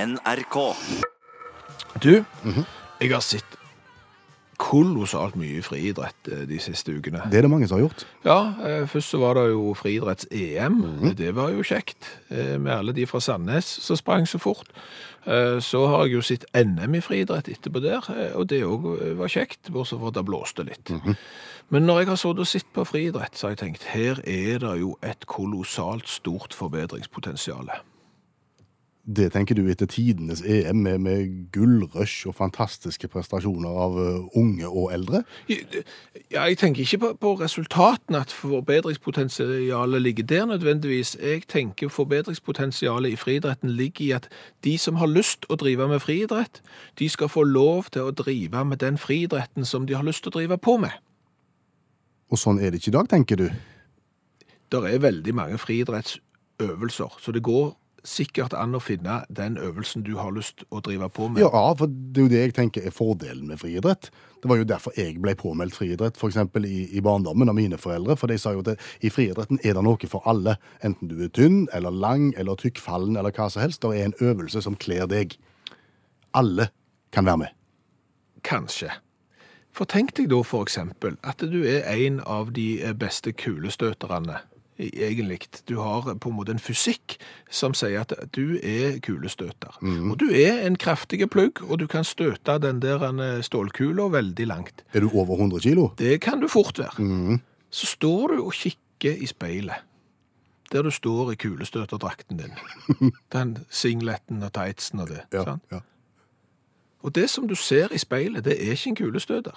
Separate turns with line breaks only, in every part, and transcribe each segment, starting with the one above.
NRK.
Du, jeg har sett kolossalt mye friidrett eh, de siste ukene.
Det er det mange som har gjort.
Ja, eh, først så var det jo friidretts-EM. Det var jo kjekt, eh, med alle de fra Sandnes som sprang så fort. Eh, Så har jeg jo sett NM i friidrett etterpå der, eh, og det òg var kjekt, bortsett fra at det blåste litt. Men når jeg har sittet og sett på friidrett, så har jeg tenkt her er det jo et kolossalt stort forbedringspotensial.
Det tenker du etter tidenes EM med, med gullrush og fantastiske prestasjoner av eh, unge og eldre.
Ja, jeg tenker ikke på, på resultatene, at forbedringspotensialet ligger der nødvendigvis. Jeg tenker forbedringspotensialet i friidretten ligger i at de som har lyst å drive med friidrett, de skal få lov til å drive med den friidretten som de har lyst til å drive på med.
Og sånn er det ikke i dag, tenker du.
Det er veldig mange friidrettsøvelser, så det går sikkert an å finne den øvelsen du har lyst å drive på med.
Ja, for det er jo det jeg tenker er fordelen med friidrett. Det var jo derfor jeg ble påmeldt friidrett, f.eks. I, i barndommen av mine foreldre. For de sa jo at i friidretten er det noe for alle. Enten du er tynn eller lang eller tykkfallen eller hva som helst. Det er en øvelse som kler deg. Alle kan være med.
Kanskje. For tenk deg da for eksempel at du er en av de eh, beste kulestøterne, i- egentlig. Du har eh, på en måte en fysikk som sier at du er kulestøter. Og du er en kraftig plugg, og du kan støte den der eh, stålkula veldig langt.
Er du over 100 kilo?
Det kan du fort være. Så står du og kikker i speilet, der du står i kulestøterdrakten din. Den singleten og tightsen og det. sant?
ja.
Og det som du ser i speilet, det er ikke en kulestøter.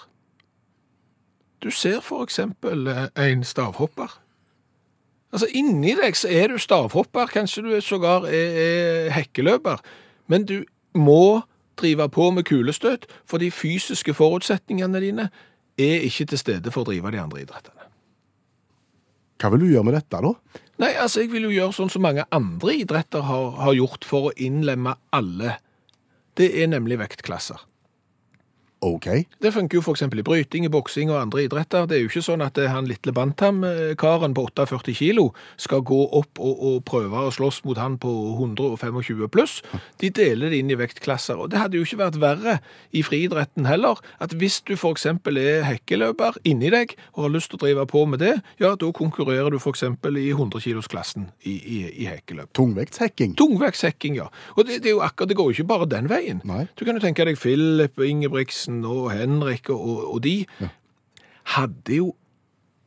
Du ser for eksempel eh, en stavhopper. Altså, inni deg så er du stavhopper, kanskje du sågar er, er hekkeløper, men du må drive på med kulestøt, for de fysiske forutsetningene dine er ikke til stede for å drive de andre idrettene.
Hva vil du gjøre med dette, da?
Nei, altså, jeg vil jo gjøre sånn som mange andre idretter har, har gjort for å innlemme alle. Det er nemlig vektklasser.
OK.
Det funker jo f.eks. i bryting, i boksing og andre idretter. Det er jo ikke sånn at eh, han lille Bantam-karen på 48 kilo skal gå opp og, og prøve å slåss mot han på 125 pluss. De deler det inn i vektklasser. Og det hadde jo ikke vært verre i friidretten heller. At hvis du f.eks. er hekkeløper inni deg og har lyst til å drive på med det, ja, da konkurrerer du f.eks. i 100-kilosklassen i, i, i hekkeløp.
Tungvektshekking.
Tungvektshekking, ja. Og det, det, er jo akkurat, det går jo ikke bare den veien.
Nei.
Du kan jo tenke deg Philip og Ingebrigtsen og Henrik og, og, og de hadde jo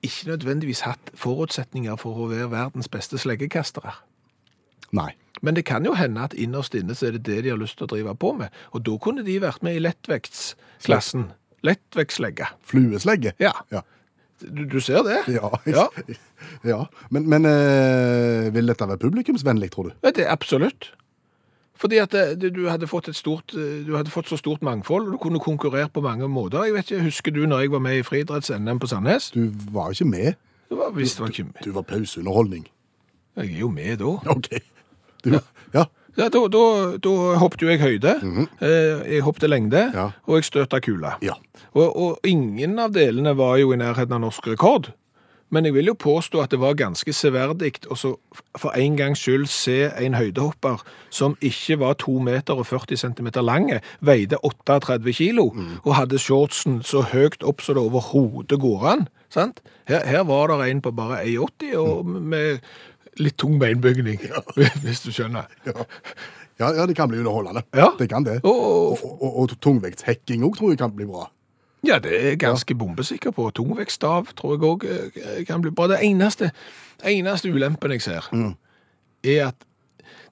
ikke nødvendigvis hatt forutsetninger for å være verdens beste sleggekastere.
Nei.
Men det kan jo hende at innerst inne så er det det de har lyst til å drive på med. Og da kunne de vært med i lettvektsklassen. Lettvektslegge.
Flueslegge.
Ja.
Ja.
Du, du ser det?
Ja.
Ja.
ja. Men, men eh, vil dette være publikumsvennlig, tror du?
Ja, det er absolutt. Fordi at eh, du du hadde fått et stort, eh, du hadde fått så stort mangfold, og du kunne konkurrert på mange måter. Jeg vet ikke, Husker du når jeg var med i friidretts-NM på Sandnes?
Du var jo ikke med.
Det var visst var ikke med.
Du var pauseunderholdning.
Jeg er jo med da.
OK. Du, ja.
Ja, da, da, da hoppet jo jeg høyde, eh, jeg hoppet lengde,
Ja.
og jeg støta kula.
ja.
Og, og ingen av delene var jo i nærheten av norsk rekord. Men jeg vil jo påstå at det var ganske severdig å så for en gangs skyld se en høydehopper som ikke var 2 meter og 40 centimeter lange, veide 38 kilo og hadde shortsen så høyt opp som det overhodet går an. Sant? Her, her var det en på bare 1,80 og med litt tung beinbygning, hvis du skjønner.
Ja, ja, det kan bli underholdende.
Ja.
Det kan det.
Og, og
Og, og, og tungvektshekking òg tror jeg kan bli bra.
Ja, det er jeg ganske bombesikker på. Tungvektstav tror jeg òg kan bli bra. Det eneste, eneste ulempen jeg ser, er at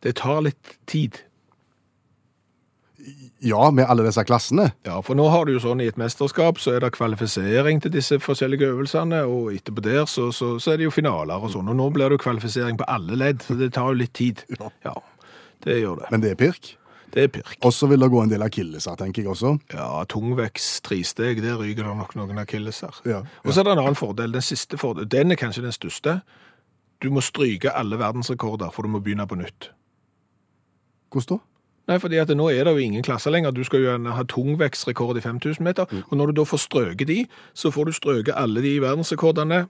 det tar litt tid.
Ja, med alle disse klassene.
Ja, For nå har du jo sånn i et mesterskap, så er det kvalifisering til disse forskjellige øvelsene, og etterpå der så, så, så er det jo finaler og sånn. Og nå blir det jo kvalifisering på alle ledd, så det tar jo litt tid. Ja, det gjør det.
Men det er pirk.
Det er pirk.
Og så vil det gå en del akilleser, tenker jeg også.
Ja, tungvekst, tristeg, der ryker det nok noen akilleser.
Ja,
Og så er det en annen fordel, den siste fordel, den er kanskje den største. Du må stryke alle verdensrekorder, for du må begynne på nytt.
Hvordan da?
Nei, fordi at nå er det jo ingen klasser lenger. Du skal jo gjerne ha tungvekstrekord i 5000 meter, og når du da får strøket de, så får du strøket alle de verdensrekordene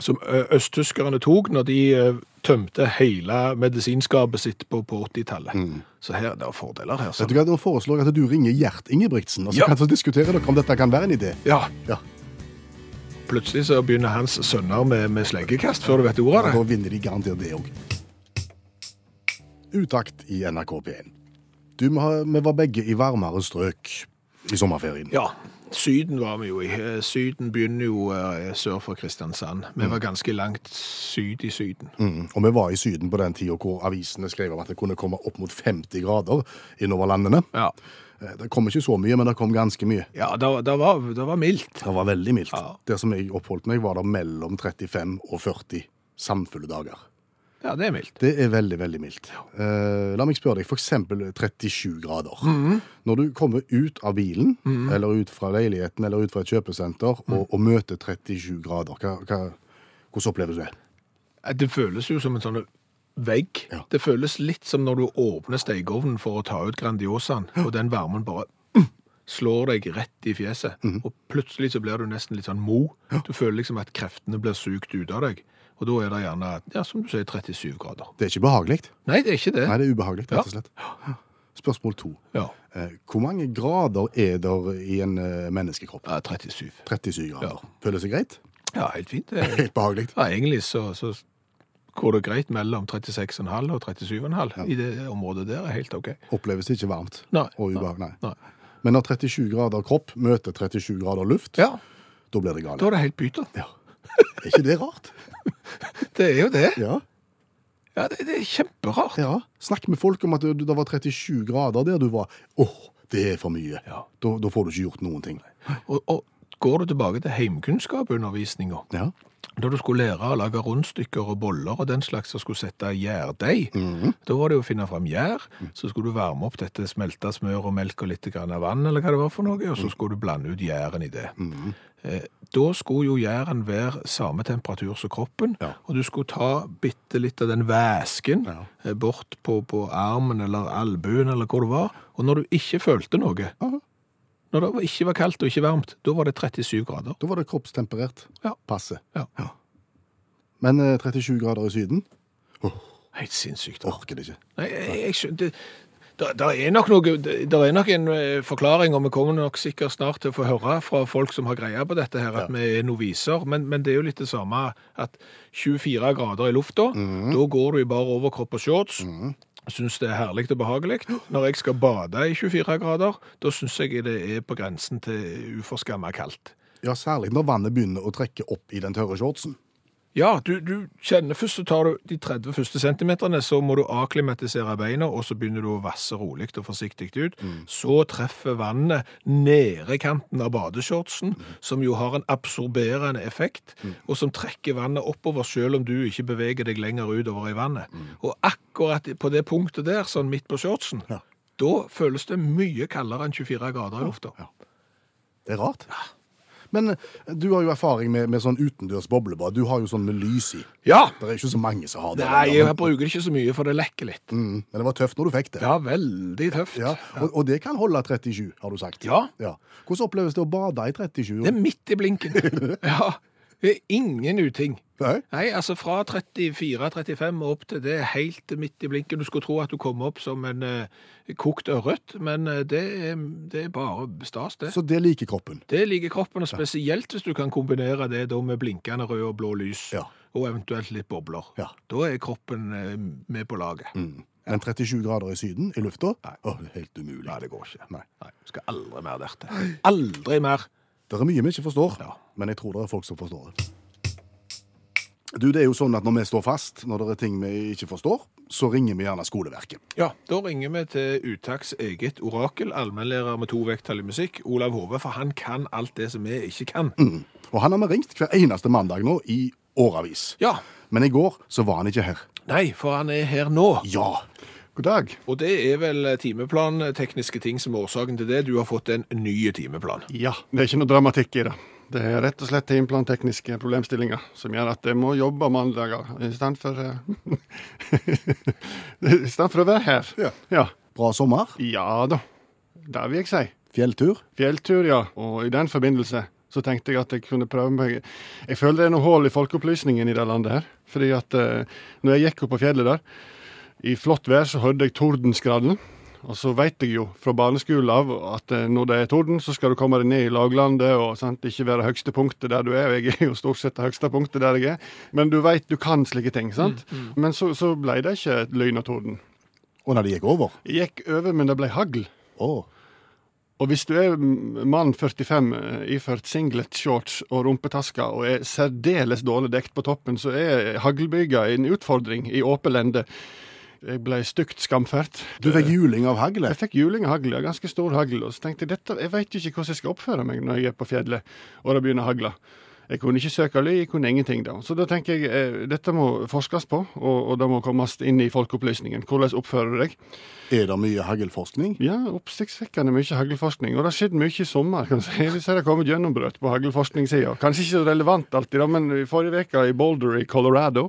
som ø, østtyskerne tok når de ø, tømte hele medisinskapet sitt på, på 80-tallet. Så her, det er fordeler her.
Vet
Sånn.
du hva, Da foreslår jeg at du ringer Gjert Ingebrigtsen, og så
Ja.
kan så diskutere dere om dette kan være en idé.
Ja,
Ja,
plutselig så begynner hans sønner med, med sleggekast før du vet ordet av det.
Da vinner de garantert det òg. Utakt i NRK P1. Du, vi har- vi var begge i varmere strøk i sommerferien.
Ja, syden var vi jo i. Eh, Syden begynner jo eh, sør for Kristiansand. Vi var ganske langt syd i syden.
Mm. Og vi var i Syden på den tida hvor avisene skrev om at det kunne komme opp mot 50 grader innover landene.
Ja,
Eh, Det kom ikke så mye, men det kom ganske mye.
ja det, det, var, det var mildt.
Det var veldig mildt.
Ja.
Der som jeg oppholdt meg, var det mellom 35 og 40 samfulle dager.
Ja, det er mildt.
Det er veldig, veldig mildt. Eh, la meg spørre deg, for eksempel 37 grader. Når du kommer ut av bilen, eller ut fra leiligheten, eller ut fra et kjøpesenter, og, og møter 37 grader, hva, hva, hvordan oppleves det?
Eh, Det føles jo som en sånn vegg.
Ja.
Det føles litt som når du åpner stekeovnen for å ta ut Grandiosaen, og den varmen bare mm, slår deg rett i fjeset,
Mm.
og plutselig så blir du nesten litt sånn mo. Du føler liksom at kreftene blir sugt ut av deg, og da er det gjerne, ja, som du sier, 37 grader.
Det er ikke behagelig.
Nei, det er ikke det.
Nei, det er ubehagelig, rett og
Ja.
slett. Spørsmål to.
Ja,
Eh, hvor mange grader er der i en eh, menneskekropp?
ja 37.
37 grader. Føles det greit?
Ja, helt fint. Det er-
Helt behagelig.
Ja, egentlig så, så går det greit mellom 36,5 og 37,5 i det området der. er Helt OK.
Oppleves det ikke varmt
Nei.
og ubehagelig? Nei.
Nei.
Men når 37 grader kropp møter 37 grader luft,
Ja,
da blir det galt.
da er det helt pyton.
Ja. Er ikke det rart?
Det er jo det.
Ja.
Ja, Det, det er kjemperart.
ja. Snakk med folk om at du- det var 37 grader der du var. Åh, det er for mye.
Ja.
Da, da får du ikke gjort noen ting.
Og, og går du tilbake til heimkunnskapundervisninga,
Ja.
da du skulle lære å lage rundstykker og boller og den slags som skulle sette gjærdeig,
Mhm.
da var det jo å finne fram gjær, så skulle du varme opp dette smelta smør og melk og litt grann av vann, eller hva det var for noe, og
Mhm.
så skulle du blande ut gjæren i det. Eh, Da skulle jo gjæren være samme temperatur som kroppen,
Ja.
og du skulle ta bitte litt av den væsken
Ja.
eh, bort på, på armen eller albuen eller hvor det var, og når du ikke følte noe,
Aha.
når det ikke var kaldt og ikke varmt, da var det 37 grader.
Da var det kroppstemperert.
Ja.
Passe.
Ja.
Men eh, 37 grader i Syden
Helt sinnssykt.
orker det ikke.
Nei, jeg, jeg skjønner det, der, der er nok noe, der der er nok en eh, forklaring, og vi kommer nok sikkert snart til å få høre fra folk som har greie på dette her, at vi er noviser, men, men det er jo litt det samme at 24 grader i lufta, da går du i bare overkropp og shorts, synes det er herlig og behagelig. Når jeg skal bade i 24 grader, da synes jeg det er på grensen til uforskammet kaldt.
Ja, særlig når vannet begynner å trekke opp i den tørre shortsen.
Ja, du, du kjenner først, så tar du de 30 første centimeterne, så må du akklimatisere beina, og så begynner du å vasse rolig og forsiktig ut.
Mm.
Så treffer vannet nede kanten av badeshortsen,
Mm.
som jo har en absorberende effekt, og som trekker vannet oppover selv om du ikke beveger deg lenger utover i vannet.
Mm.
Og akkurat på det punktet der, sånn midt på shortsen,
Ja.
da føles det mye kaldere enn 24 grader i lufta.
Det er rart. Men eh, du har jo erfaring med, med sånn utendørs boblebad. Du har jo sånn med lys i.
Ja!
Det er ikke så mange som har det.
Nei,
lenger,
jeg bruker det ikke så mye, for det lekker litt.
men, mm, men det var tøft når du fikk det.
Ja, veldig tøft.
Ja, og, og det kan holde 37, har du sagt.
Ja.
Hvordan oppleves det å bade i 37?
Det er midt i blinken. Ja, det er ingen uting.
Nei?
Nei, altså fra 34-35 og opp til det er helt midt i blinken. Du skulle tro at du kom opp som en eh, kokt ørret, men eh, det, er, det er bare stas det.
Så det liker kroppen.
Det liker kroppen, og spesielt hvis du kan kombinere det da med blinkende rød og blå lys,
Ja.
og eventuelt litt bobler.
Ja.
Da er kroppen eh, med på laget.
Mm. Men 37 grader i Syden, i lufta, Åh, det er helt umulig.
Nei, det går ikke.
Nei.
Skal aldri mer der til. Aldri mer.
Det er mye vi ikke forstår,
Ja.
men jeg tror det er folk som forstår det. Du, det er jo sånn at Når vi står fast, når det er ting vi ikke forstår, så ringer vi gjerne skoleverket.
Ja, da ringer vi til Utaks eget orakel, allmennlærer med to vekttall i musikk, Olav Hove, for han kan alt det som vi ikke kan.
Og Han har vi ringt hver eneste mandag nå i årevis.
Ja,
Men i går så var han ikke her.
nei, for han er her nå.
Ja. God dag.
Og det er vel timeplantekniske ting som er årsaken til det. Du har fått en ny timeplan.
Ja, det er ikke noe dramatikk i det. Det er rett og slett timeplantekniske problemstillinger som gjør at jeg må jobbe mandager istedenfor eh, Istedenfor å være her.
Ja.
ja.
Bra sommer.
Ja da, det vil jeg si.
Fjelltur.
Fjelltur, ja. Og i den forbindelse Så tenkte jeg at jeg kunne prøve meg. Jeg føler det er noe hull i folkeopplysningen i det landet her. Fordi at eh, når jeg gikk opp på fjellet der, i flott vær så hørte jeg tordenskrallen. Og så vet jeg jo fra barneskolen av at eh, når det er torden, så skal du komme deg ned i laglandet og sant, ikke være høyeste punktet der du er. Og jeg er jo stort sett det høyeste punktet der jeg er. Men du vet du kan slike ting. sant? Men så, så ble det ikke lyn og torden.
Og når det gikk over
Jeg gikk over, men det ble hagl.
Å,
Og hvis du er m- mann 45 eh, iført singlet, shorts og rumpetasker og er særdeles dårlig dekt på toppen, så er haglbyga en utfordring i åpen lende. Jeg ble stygt skamført.
Du fikk juling av haglet.
Jeg fikk juling av hagl, ja, ganske stor hagl, og så tenkte jeg dette, jeg veit jo ikke hvordan jeg skal oppføre meg når jeg er på fjellet og det begynner å hagle. Jeg kunne ikke søke ly, jeg kunne ingenting da. Så da tenker jeg eh, dette må forskes på, og, og det må kommes inn i folkeopplysningen. Hvordan oppfører du deg?
Er det mye haglforskning?
Ja, oppsiktsvekkende mye haglforskning. Og det har skjedd mye i sommer. kan du si. Hvis det har kommet gjennombrudd på haglforskningssida. Kanskje ikke så relevant alltid, da, men i forrige uke i Boulder i Colorado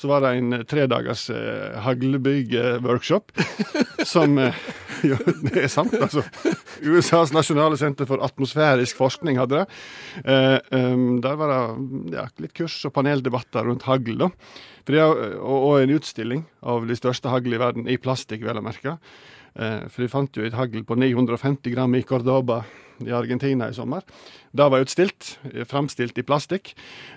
så var det en eh, tredagers eh, haglbyg-workshop. som eh, Jo, det er sant, altså. USAs nasjonale senter for atmosfærisk forskning hadde det. Eh, em, der var det ja, litt kurs og paneldebatter rundt hagl, da. For det, er- og, og en utstilling av de største haglene i verden, i plastikk, vel å merke. Eh, For de fant jo et hagl på 950 gram i Cordoba i Argentina i sommer. Det var utstilt, eh, framstilt i plastikk.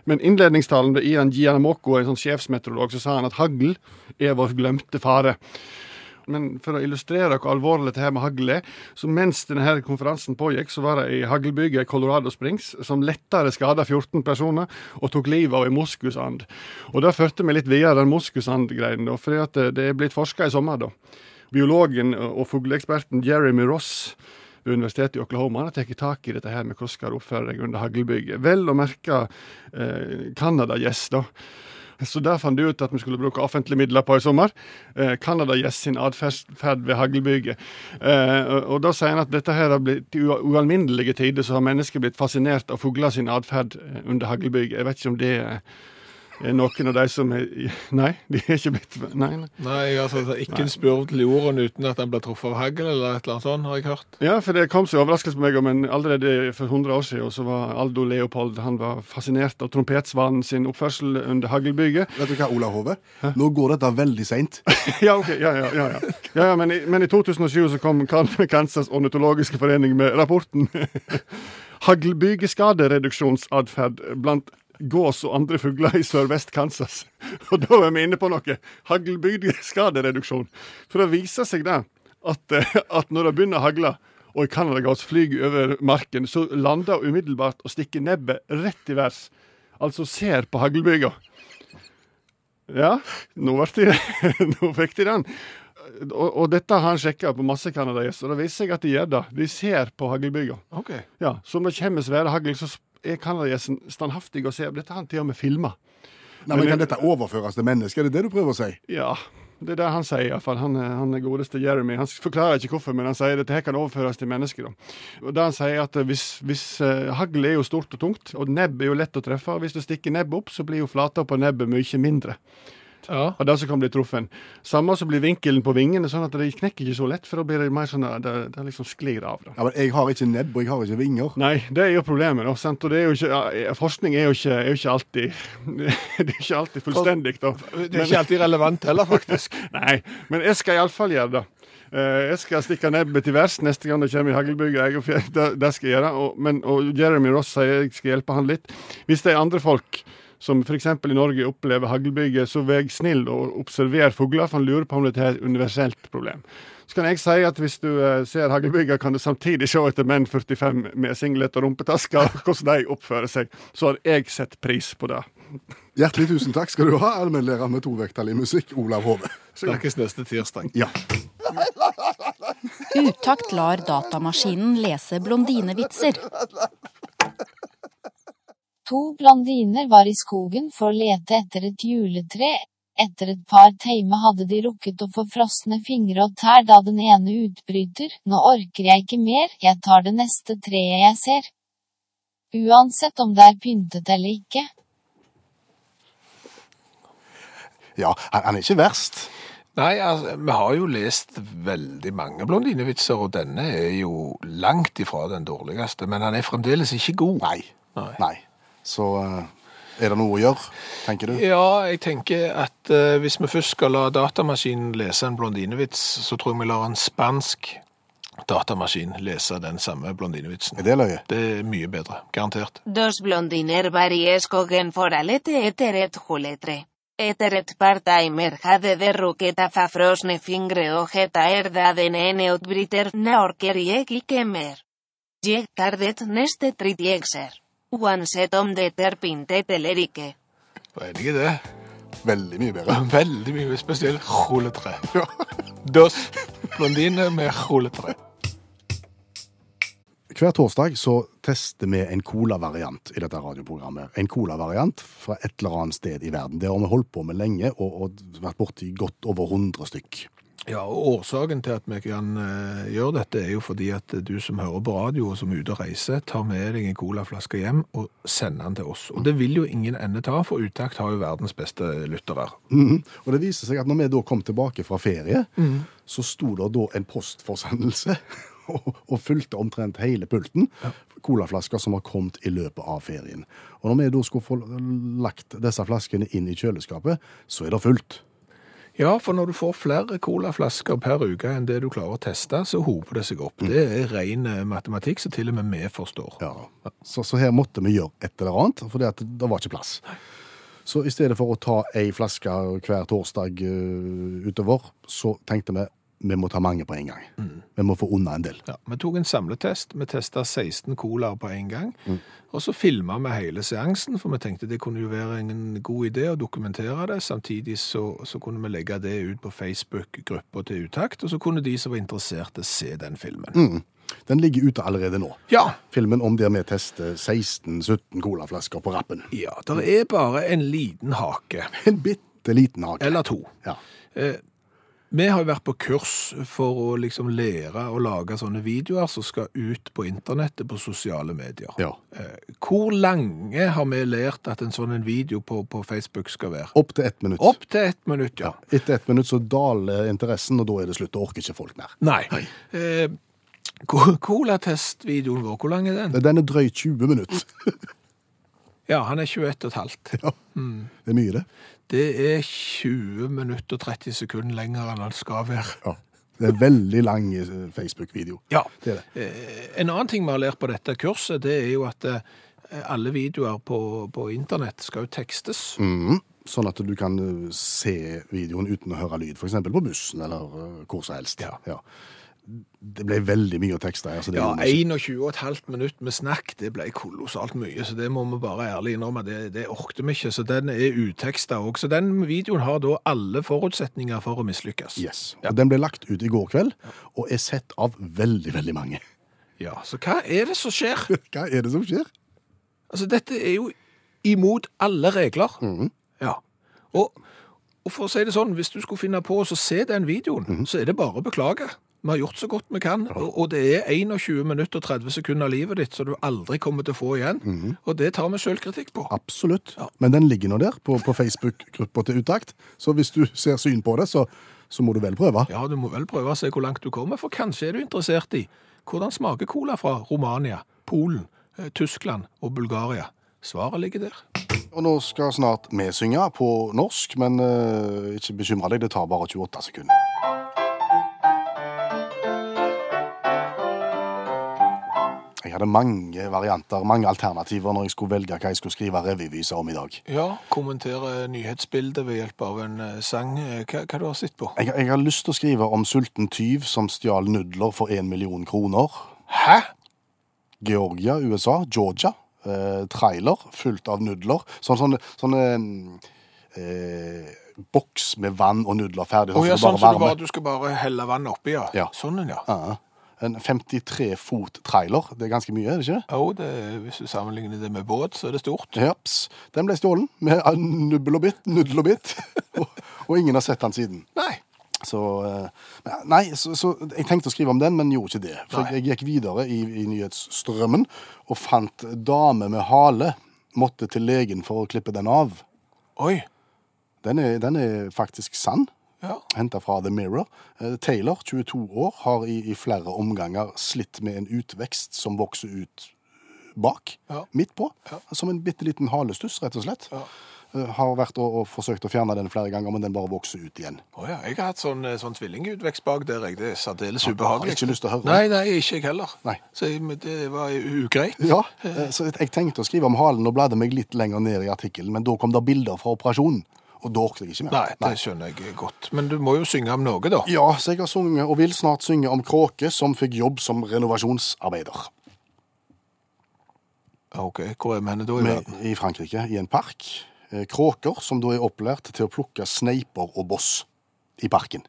Men innledningstalen til Ian Gianamoko, en sånn sjefsmeteorolog, så sa han at hagl er vår glemte fare. Men for å illustrere hvor alvorlig dette her med hagl er, så mens denne her konferansen pågikk, så var det ei haglbyge i Colorado Springs som lettere skada 14 personer og tok livet av ei moskusand. Og det førte meg litt videre den moskusandgreien, da, for det er blitt forska i sommer, da. Biologen og fugleeksperten Jeremy Ross ved Universitetet i Oklahoma har tatt tak i dette her med hvordan skal du oppføre deg under haglbyger. Vel å merke eh, Canada-gjess, da. Så der fant de ut at vi skulle bruke offentlige midler på i sommer. Eh, Canada-gjess sin atferd ved haglbyger. Eh, og- og da sier han at dette her har blitt i ua- ualminnelige tider så har mennesker blitt fascinert av fugler sin atferd eh, under haglbyger. Jeg vet ikke om det er er noen av de som er Nei, de er ikke blitt Nei, nei.
Nei, altså, det er ikke en spurv til jorden uten at den blir truffet av hagl eller et eller annet sånt, har jeg hørt.
Ja, for det kom så overraskelse på meg, men allerede for 100 år siden så var Aldo Leopold han var fascinert av trompetsvanen sin oppførsel under haglbyget.
Vet du hva, Olav Hove? Nå går dette veldig seint.
ja, ok, ja, ja, ja, ja. ja, ja men, i, men i 2007 så kom Kan- Kansas ornitologiske forening med rapporten Haglbygeskadereduksjonsatferd blant gås og andre fugler i sørvest-Kansas. Og da er vi inne på noe. Haglbygeskadereduksjon. For det viser seg det at, eh, at når det begynner å hagle, og en canadagås flyr over marken, så lander hun umiddelbart og stikker nebbet rett i værs. Altså ser på haglbyga. Ja, nå, ble de, nå fikk de den. Og, og dette har han sjekka på masse canadagjester, og det viser seg at de gjør det. De ser på haglbyga.
Ok.
Ja, så om det kommer svære hagl, så er canadagjesten standhaftig og ser. Dette har han til og med filma.
Nei, men Kan dette overføres til mennesker? Er det det du prøver å si?
Ja, det er det han sier iallfall. Han, eh, han er godeste Jeremy. Han forklarer ikke hvorfor, men han sier dette her kan overføres til mennesker. Da. Og det han sier at eh, hvis, hvis eh, hagl er jo stort og tungt, og nebb er jo lett å treffe, og hvis du stikker nebbet opp, så blir jo flata på nebbet mye mindre.
Ja.
Og det som kan bli truffen. Samme så blir vinkelen på vingene sånn at de knekker ikke så lett, for da blir det mer sånn at det, det liksom sklir av. da.
Ja, men Jeg har ikke nebb, og jeg har ikke vinger.
Nei, det er jo problemet. da, sant? Og det er jo ikke, ja, forskning er jo ikke, er jo ikke alltid Det er ikke alltid fullstendig, da.
Det er ikke alltid relevant heller, faktisk.
Nei, men jeg skal iallfall gjøre det. Eh, jeg skal stikke nebbet til værs neste gang det kommer i haglbyga. jeg- for jeg- Det, det skal jeg gjøre. Og, men, og Jeremy Ross sier jeg skal hjelpe han litt. Hvis det er andre folk som f.eks. i Norge opplever haglbyger, så vær snill og observer fugler, for han lurer på om dette er et universelt problem. Så kan jeg si at hvis du eh, ser haglbyger, kan du samtidig se etter menn 45 med singlet og rumpetasker, og hvordan de oppfører seg. Så har jeg sett pris på det.
Hjertelig tusen takk skal du ha, allmennlærer med tovekttall i musikk, Olav Hove.
Snakkes neste tirsdag.
Ja.
Utakt lar datamaskinen lese blondinevitser.
To blondiner var i skogen for å lete etter et juletre. Etter et par timer hadde de rukket å få frosne fingre og tær da den ene utbryter, nå orker jeg ikke mer, jeg tar det neste treet jeg ser. Uansett om det er pyntet eller ikke.
ja, han han er ikke verst.
Nei, altså, vi har jo lest veldig mange blondinevitser, og denne er jo langt ifra den dårligste, men han er fremdeles ikke god.
Nei.
Nei.
Nei. Så eh, er det noe å gjøre, tenker du?
Ja, jeg tenker at eh, hvis vi først skal la datamaskinen lese en blondinevits, så tror jeg vi lar en spansk datamaskin lese den samme blondinevitsen.
Er det løye?
Det er mye bedre, garantert.
Dos blondiner variescogen foralete eteret juletre. Eteret part-timer jade de ruqueta fafrosne fingre ojeta erda de nene utbriter naorkeriek ikemer. Jeg tardet neste tritiexer. One set om de terpintet elerike.
Jeg er enig i det.
Veldig mye bedre.
Veldig mye spesielt juletre. Dos blondiner med juletre.
Hver torsdag så tester vi en colavariant i dette radioprogrammet. En colavariant fra et eller annet sted i verden. Det har vi holdt på med lenge og, og vært borti godt over 100 stykk.
Ja, og Årsaken til at vi kan eh, gjøre dette, er jo fordi at du som hører på radio og som er ute og reiser, tar med deg en colaflaske hjem og sender den til oss. Og det vil jo ingen ende ta, for Utakt har jo verdens beste lyttere.
Mhm. Og det viser seg at når vi da kom tilbake fra ferie, så sto det da en postforsendelse og, og fulgte omtrent hele pulten. Colaflasker som har kommet i løpet av ferien. Og når vi da skulle få lagt disse flaskene inn i kjøleskapet, så er det fullt.
Ja, for når du får flere colaflasker per uke enn det du klarer å teste, så hoper det seg opp. Det er ren eh, matematikk som til og med vi forstår.
Ja. Så, så her måtte vi gjøre et eller annet, for det var ikke plass. Så i stedet for å ta ei flaske hver torsdag eh, utover, så tenkte vi vi må ta mange på en gang.
Mm.
Vi må få unna en del.
Ja, vi tok en samletest. Vi testa 16 colaer på en gang. Og så filma vi hele seansen, for vi tenkte det kunne jo være en god idé å dokumentere det. Samtidig så, så kunne vi legge det ut på Facebook-gruppa til Utakt, og så kunne de som var interesserte, se den filmen.
Den ligger ute allerede nå.
Ja!
Filmen om der vi tester 16-17 colaflasker på rappen.
Ja, det er bare en liten hake.
En bitte liten hake.
Eller to.
Ja.
Vi har jo vært på kurs for å liksom lære å lage sånne videoer som skal ut på internettet på sosiale medier.
ja.
Eh, Hvor lange har vi lært at en sånn en video på, på Facebook skal være?
Opp til ett minutt.
Opp til ett minutt, ja.
Etter ett minutt så daler interessen, og da er det slutt. Da orker ikke folk mer.
Nei. Eh, ko- Colatest-videoen vår, hvor lang er den?
Den er drøyt 20 minutter.
Ja, han er 21,5. Mm.
Det er mye, det.
Det er 20 minutter og 30 sekunder lenger enn han skal være.
Ja. Det er veldig lang eh, Facebook-video.
Ja.
Det er det.
Eh, En annen ting vi har lært på dette kurset, det er jo at eh, alle videoer på, på internett skal jo tekstes.
Mhm. Sånn at du kan eh, se videoen uten å høre lyd, f.eks. på bussen eller eh, hvor som helst.
Ja.
Det ble veldig mye å tekste her. Så det
Ja,
gjorde vi ikke.
21,5 minutt med snakk, det ble kolossalt mye, så det må vi bare ærlig innrømme, det, det orkte vi ikke, så den er uteksta òg. Så den videoen har da alle forutsetninger for å mislykkes.
Yes. Og den ble lagt ut i går kveld, og er sett av veldig, veldig mange.
Ja, Så hva er det som skjer?
Hva er det som skjer?
Altså, dette er jo imot alle regler.
Mhm.
Ja. Og, og for å si det sånn, hvis du skulle finne på å så se den videoen,
Mhm.
så er det bare å beklage. Vi har gjort så godt vi kan, og, og det er 21 minutter og 30 sekunder av livet ditt som du aldri kommer til å få igjen.
Mhm.
Og det tar vi sjølkritikk på.
Absolutt.
Ja.
Men den ligger nå der, på, på Facebook-gruppa til Utakt. Så hvis du ser syn på det, så, så må du vel prøve.
Ja, du må vel prøve å se hvor langt du kommer, for kanskje er du interessert i hvordan smaker cola fra Romania, Polen, eh, Tyskland og Bulgaria. Svaret ligger der.
Og nå skal snart vi synge på norsk, men eh, ikke bekymre deg, det tar bare 28 sekunder. Jeg hadde mange varianter, mange alternativer når jeg skulle velge hva jeg skulle skrive revyvise om i dag.
Ja, kommentere nyhetsbildet ved hjelp av en eh, sang. Eh, Hva, hva du har sett på?
Jeg, jeg har lyst til å skrive om sulten tyv som stjal nudler for én million kroner.
Hæ?
Georgia, USA, Georgia. Eh, trailer fullt av nudler. Sånn, sånne sånne eh, boks med vann og nudler ferdig.
Å ja, sånn som
det
du
varmer.
bare, du skal bare helle vann oppi, ja.
Ja.
Sånn, ja.
Ja. En 53 fot trailer. Det er ganske mye, er det ikke?
Jo, det, hvis du sammenligner det med båt, så er det stort.
Japs. Den ble stjålen med av nubbel og bitt, nuddel og bitt. og, og ingen har sett den siden.
Nei.
Så eh, Nei, så, så jeg tenkte å skrive om den, men gjorde ikke det. For jeg, jeg gikk videre i, i nyhetsstrømmen og fant dame med hale måtte til legen for å klippe den av.
Oi.
Den er, den er faktisk sann.
Ja.
Henta fra The Mirror. Eh, Taylor, 22 år, har i, i flere omganger slitt med en utvekst som vokser ut bak,
Ja.
midt på,
Ja.
som en bitte liten halestuss, rett og slett.
Ja.
Eh, Har vært og, og forsøkt å fjerne den flere ganger, men den bare vokser ut igjen.
Å ja, jeg har hatt sånn, eh, sånn tvillingutvekst bak der, jeg. Det er særdeles
Har
ubehagelig.
ikke lyst til å høre.
Nei, nei, ikke jeg heller.
Nei.
Så jeg- men det var ugreit.
Ja, eh, så jeg tenkte å skrive om halen og bladde meg litt lenger ned i artikkelen, men da kom det bilder fra operasjonen, og da orket jeg ikke mer.
Nei, det skjønner jeg godt. Men du må jo synge om noe, da.
Ja, så jeg har sunget, og vil snart synge om Kråke, som fikk jobb som renovasjonsarbeider
Ok, hvor er vi henne da i
med,
verden?
i Frankrike, i en park. Eh, Kråker som da er opplært til å plukke sneiper og boss i parken.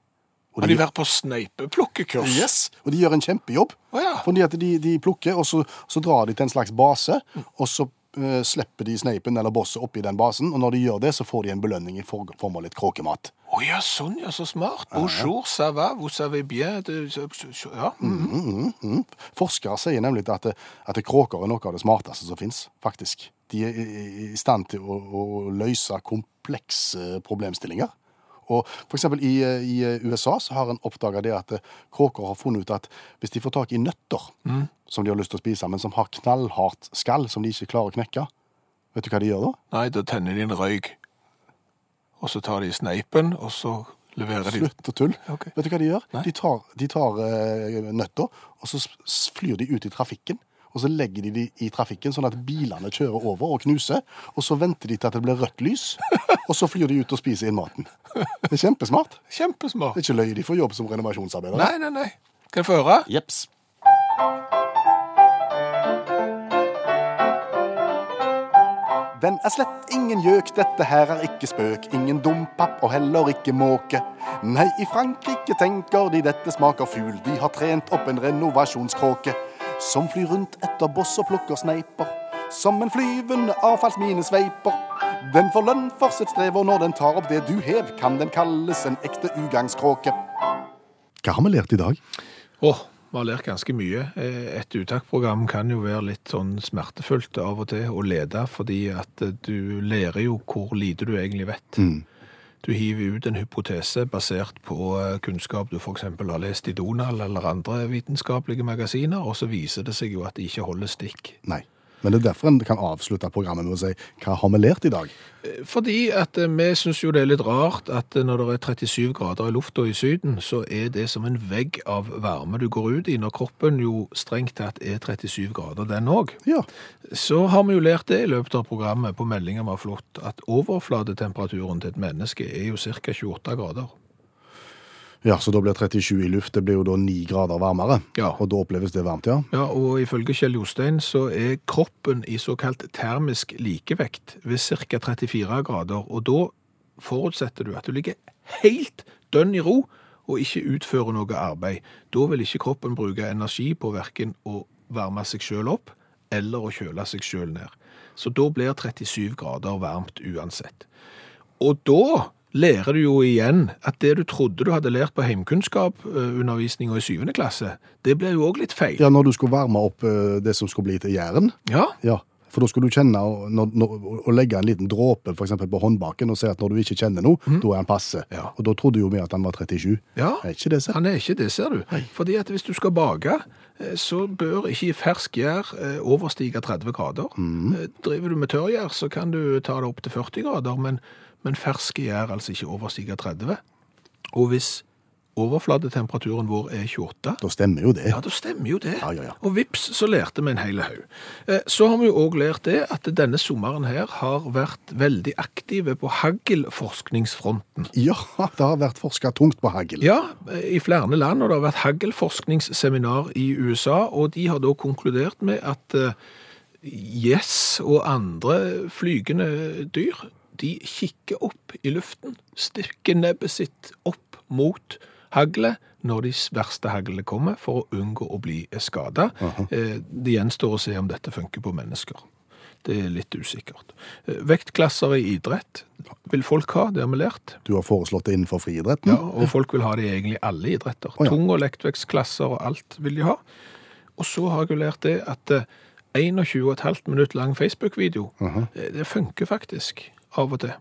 Og
Har de vært på sneipeplukkekurs?
Yes, og de gjør en kjempejobb.
Å ja.
Fordi at de, de plukker, og så, så drar de til en slags base, og så eh, slipper de sneipen eller bosset oppi den basen, og når de gjør det, så får de en belønning i for- form av litt kråkemat.
Å ja, sånn ja, så smart. Bonjour, ça va, vous savez bien. Det, ja. mhm.
Mm, Forskere sier nemlig at, at kråker er noe av det smarteste som finnes, faktisk. De er i- i- i stand til å, å løse komplekse problemstillinger. Og for eksempel i, i USA så har en oppdaga det at kråker har funnet ut at hvis de får tak i nøtter som de har lyst til å spise, men som har knallhardt skall som de ikke klarer å knekke, vet du hva de gjør da?
Nei, da tenner de en røyk. Og så tar de sneipen, og så leverer de
Slutt å tulle.
Ok.
Vet du hva de gjør?
Nei.
De tar, de tar eh, nøtter, og så s- s- flyr de ut i trafikken. Og så legger de de i trafikken, sånn at bilene kjører over og knuser. Og så venter de til at det blir rødt lys, og så flyr de ut og spiser inn maten. Det er kjempesmart.
Kjempesmart.
Det er ikke løye de får jobb som renovasjonsarbeidere.
Nei, nei, nei. Kan jeg få høre?
Jeps. Den er slett ingen gjøk, dette her er ikke spøk. Ingen dompap og heller ikke måke. Nei, i Frankrike tenker de dette smaker fugl. De har trent opp en renovasjonskråke. Som flyr rundt etter boss og plukker sneiper. Som en flyvende avfallsmine sveiper. Den får lønn for sitt strev, og når den tar opp det du hev, kan den kalles en ekte ugagnskråke. Hva har vi lært i dag?
Åh, vi har lært ganske mye. Eh, Et uttaksprogram kan jo være litt sånn smertefullt av og til å lede, fordi at eh, du lærer jo hvor lite du egentlig vet. Du hiver ut en hypotese basert på eh, kunnskap du f.eks. har lest i Donald eller andre vitenskapelige magasiner, og så viser det seg jo at de ikke holder stikk.
Nei. Men det er derfor en kan avslutte programmet med å si hva har vi lært i dag?
Fordi at eh, vi syns jo det er litt rart at eh, når det er 37 grader i lufta i Syden, så er det som en vegg av varme du går ut i, når kroppen jo strengt tatt er 37 grader, den òg.
Ja.
Så har vi jo lært det i løpet av programmet på meldingen var flott, at overfladetemperaturen til et menneske er jo ca. 28 grader.
ja, så da blir 37 i luft, det blir jo da 9 grader varmere.
Ja.
Og da oppleves det varmt, ja.
Ja, og ifølge Kjell Jostein så er kroppen i såkalt termisk likevekt ved ca. 34 grader, og da forutsetter du at du ligger helt dønn i ro og ikke utfører noe arbeid. Da vil ikke kroppen bruke energi på hverken å varme seg sjøl opp eller å kjøle seg sjøl ned. Så da blir 37 grader varmt uansett. Og da lærer du jo igjen at det du trodde du hadde lært på heimkunnskap-undervisninga i 7. klasse, det blir jo òg litt feil.
Ja, når du skulle varme opp eh, det som skulle bli til jæren.
Ja,
Ja. For da skulle du kjenne og- når, når, å legge en liten dråpe for eksempel på håndbaken og si at når du ikke kjenner noe, da er han passe.
Mhm. Ja.
Og da trodde jo vi at han var 37.
Ja.
Er ikke det sant?
han er ikke det, ser du. Fordi at hvis du skal bake, eh, så bør ikke fersk gjær eh, overstige 30 grader.
Mhm.
Eh, Driver du med tørrgjær, så kan du ta det opp til 40 grader, men, men fersk gjær altså ikke overstige 30. Og hvis overfladetemperaturen vår er 28,
Da stemmer jo det.
ja, da stemmer jo det.
Ja, ja, ja.
Og vips, så lærte vi en hel haug. Eh, Så har vi jo òg lært det at denne sommeren her har vært veldig aktive på haglforskningsfronten.
Ja, det har vært forska tungt på hagl.
Ja, i flere land, og det har vært haglforskningsseminar i USA, og de har da konkludert med at eh, gjess og andre flygende dyr, de kikker opp i luften, styrker nebbet sitt opp mot haglet når de verste haglene kommer, for å unngå å bli skada. Det gjenstår å se om dette funker på mennesker. Det er litt usikkert. Eh, Vektklasser i idrett vil folk ha, det har vi lært.
Du har foreslått det innenfor friidretten.
Ja, og folk vil ha det i egentlig alle idretter.
ja.
Tung- og lektvekstklasser og alt vil de ha. Og så har jeg jo lært det at eh, 21,5 minutt lang Facebook-video, eh, det funker faktisk av og til.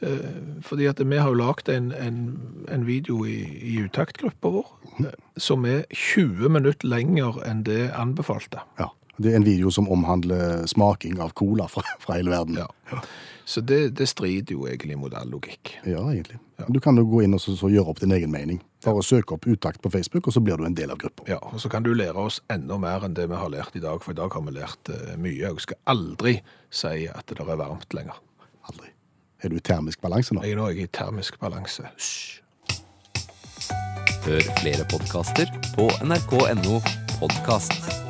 Eh, Fordi at vi har jo lagt en, en, en video i, i uttaktgruppa vår eh, som er 20 minutter lenger enn det anbefalte.
Ja. Det er en video som omhandler smaking av cola fra, fra hele verden.
Ja. Så det, det strider jo egentlig mot all logikk.
Ja, egentlig. Du kan jo gå inn og så, så gjøre opp din egen mening. Bare søk opp utakt på Facebook, og så blir du en del av gruppa.
Ja, og så kan du lære oss enda mer enn det vi har lært i dag, for i dag har vi lært eh, mye. Jeg skal aldri si at det er varmt lenger.
Aldri. Er du i termisk balanse nå?
Jeg er nå i termisk balanse. Hysj.
Hør flere podkaster på nrk.no podkast.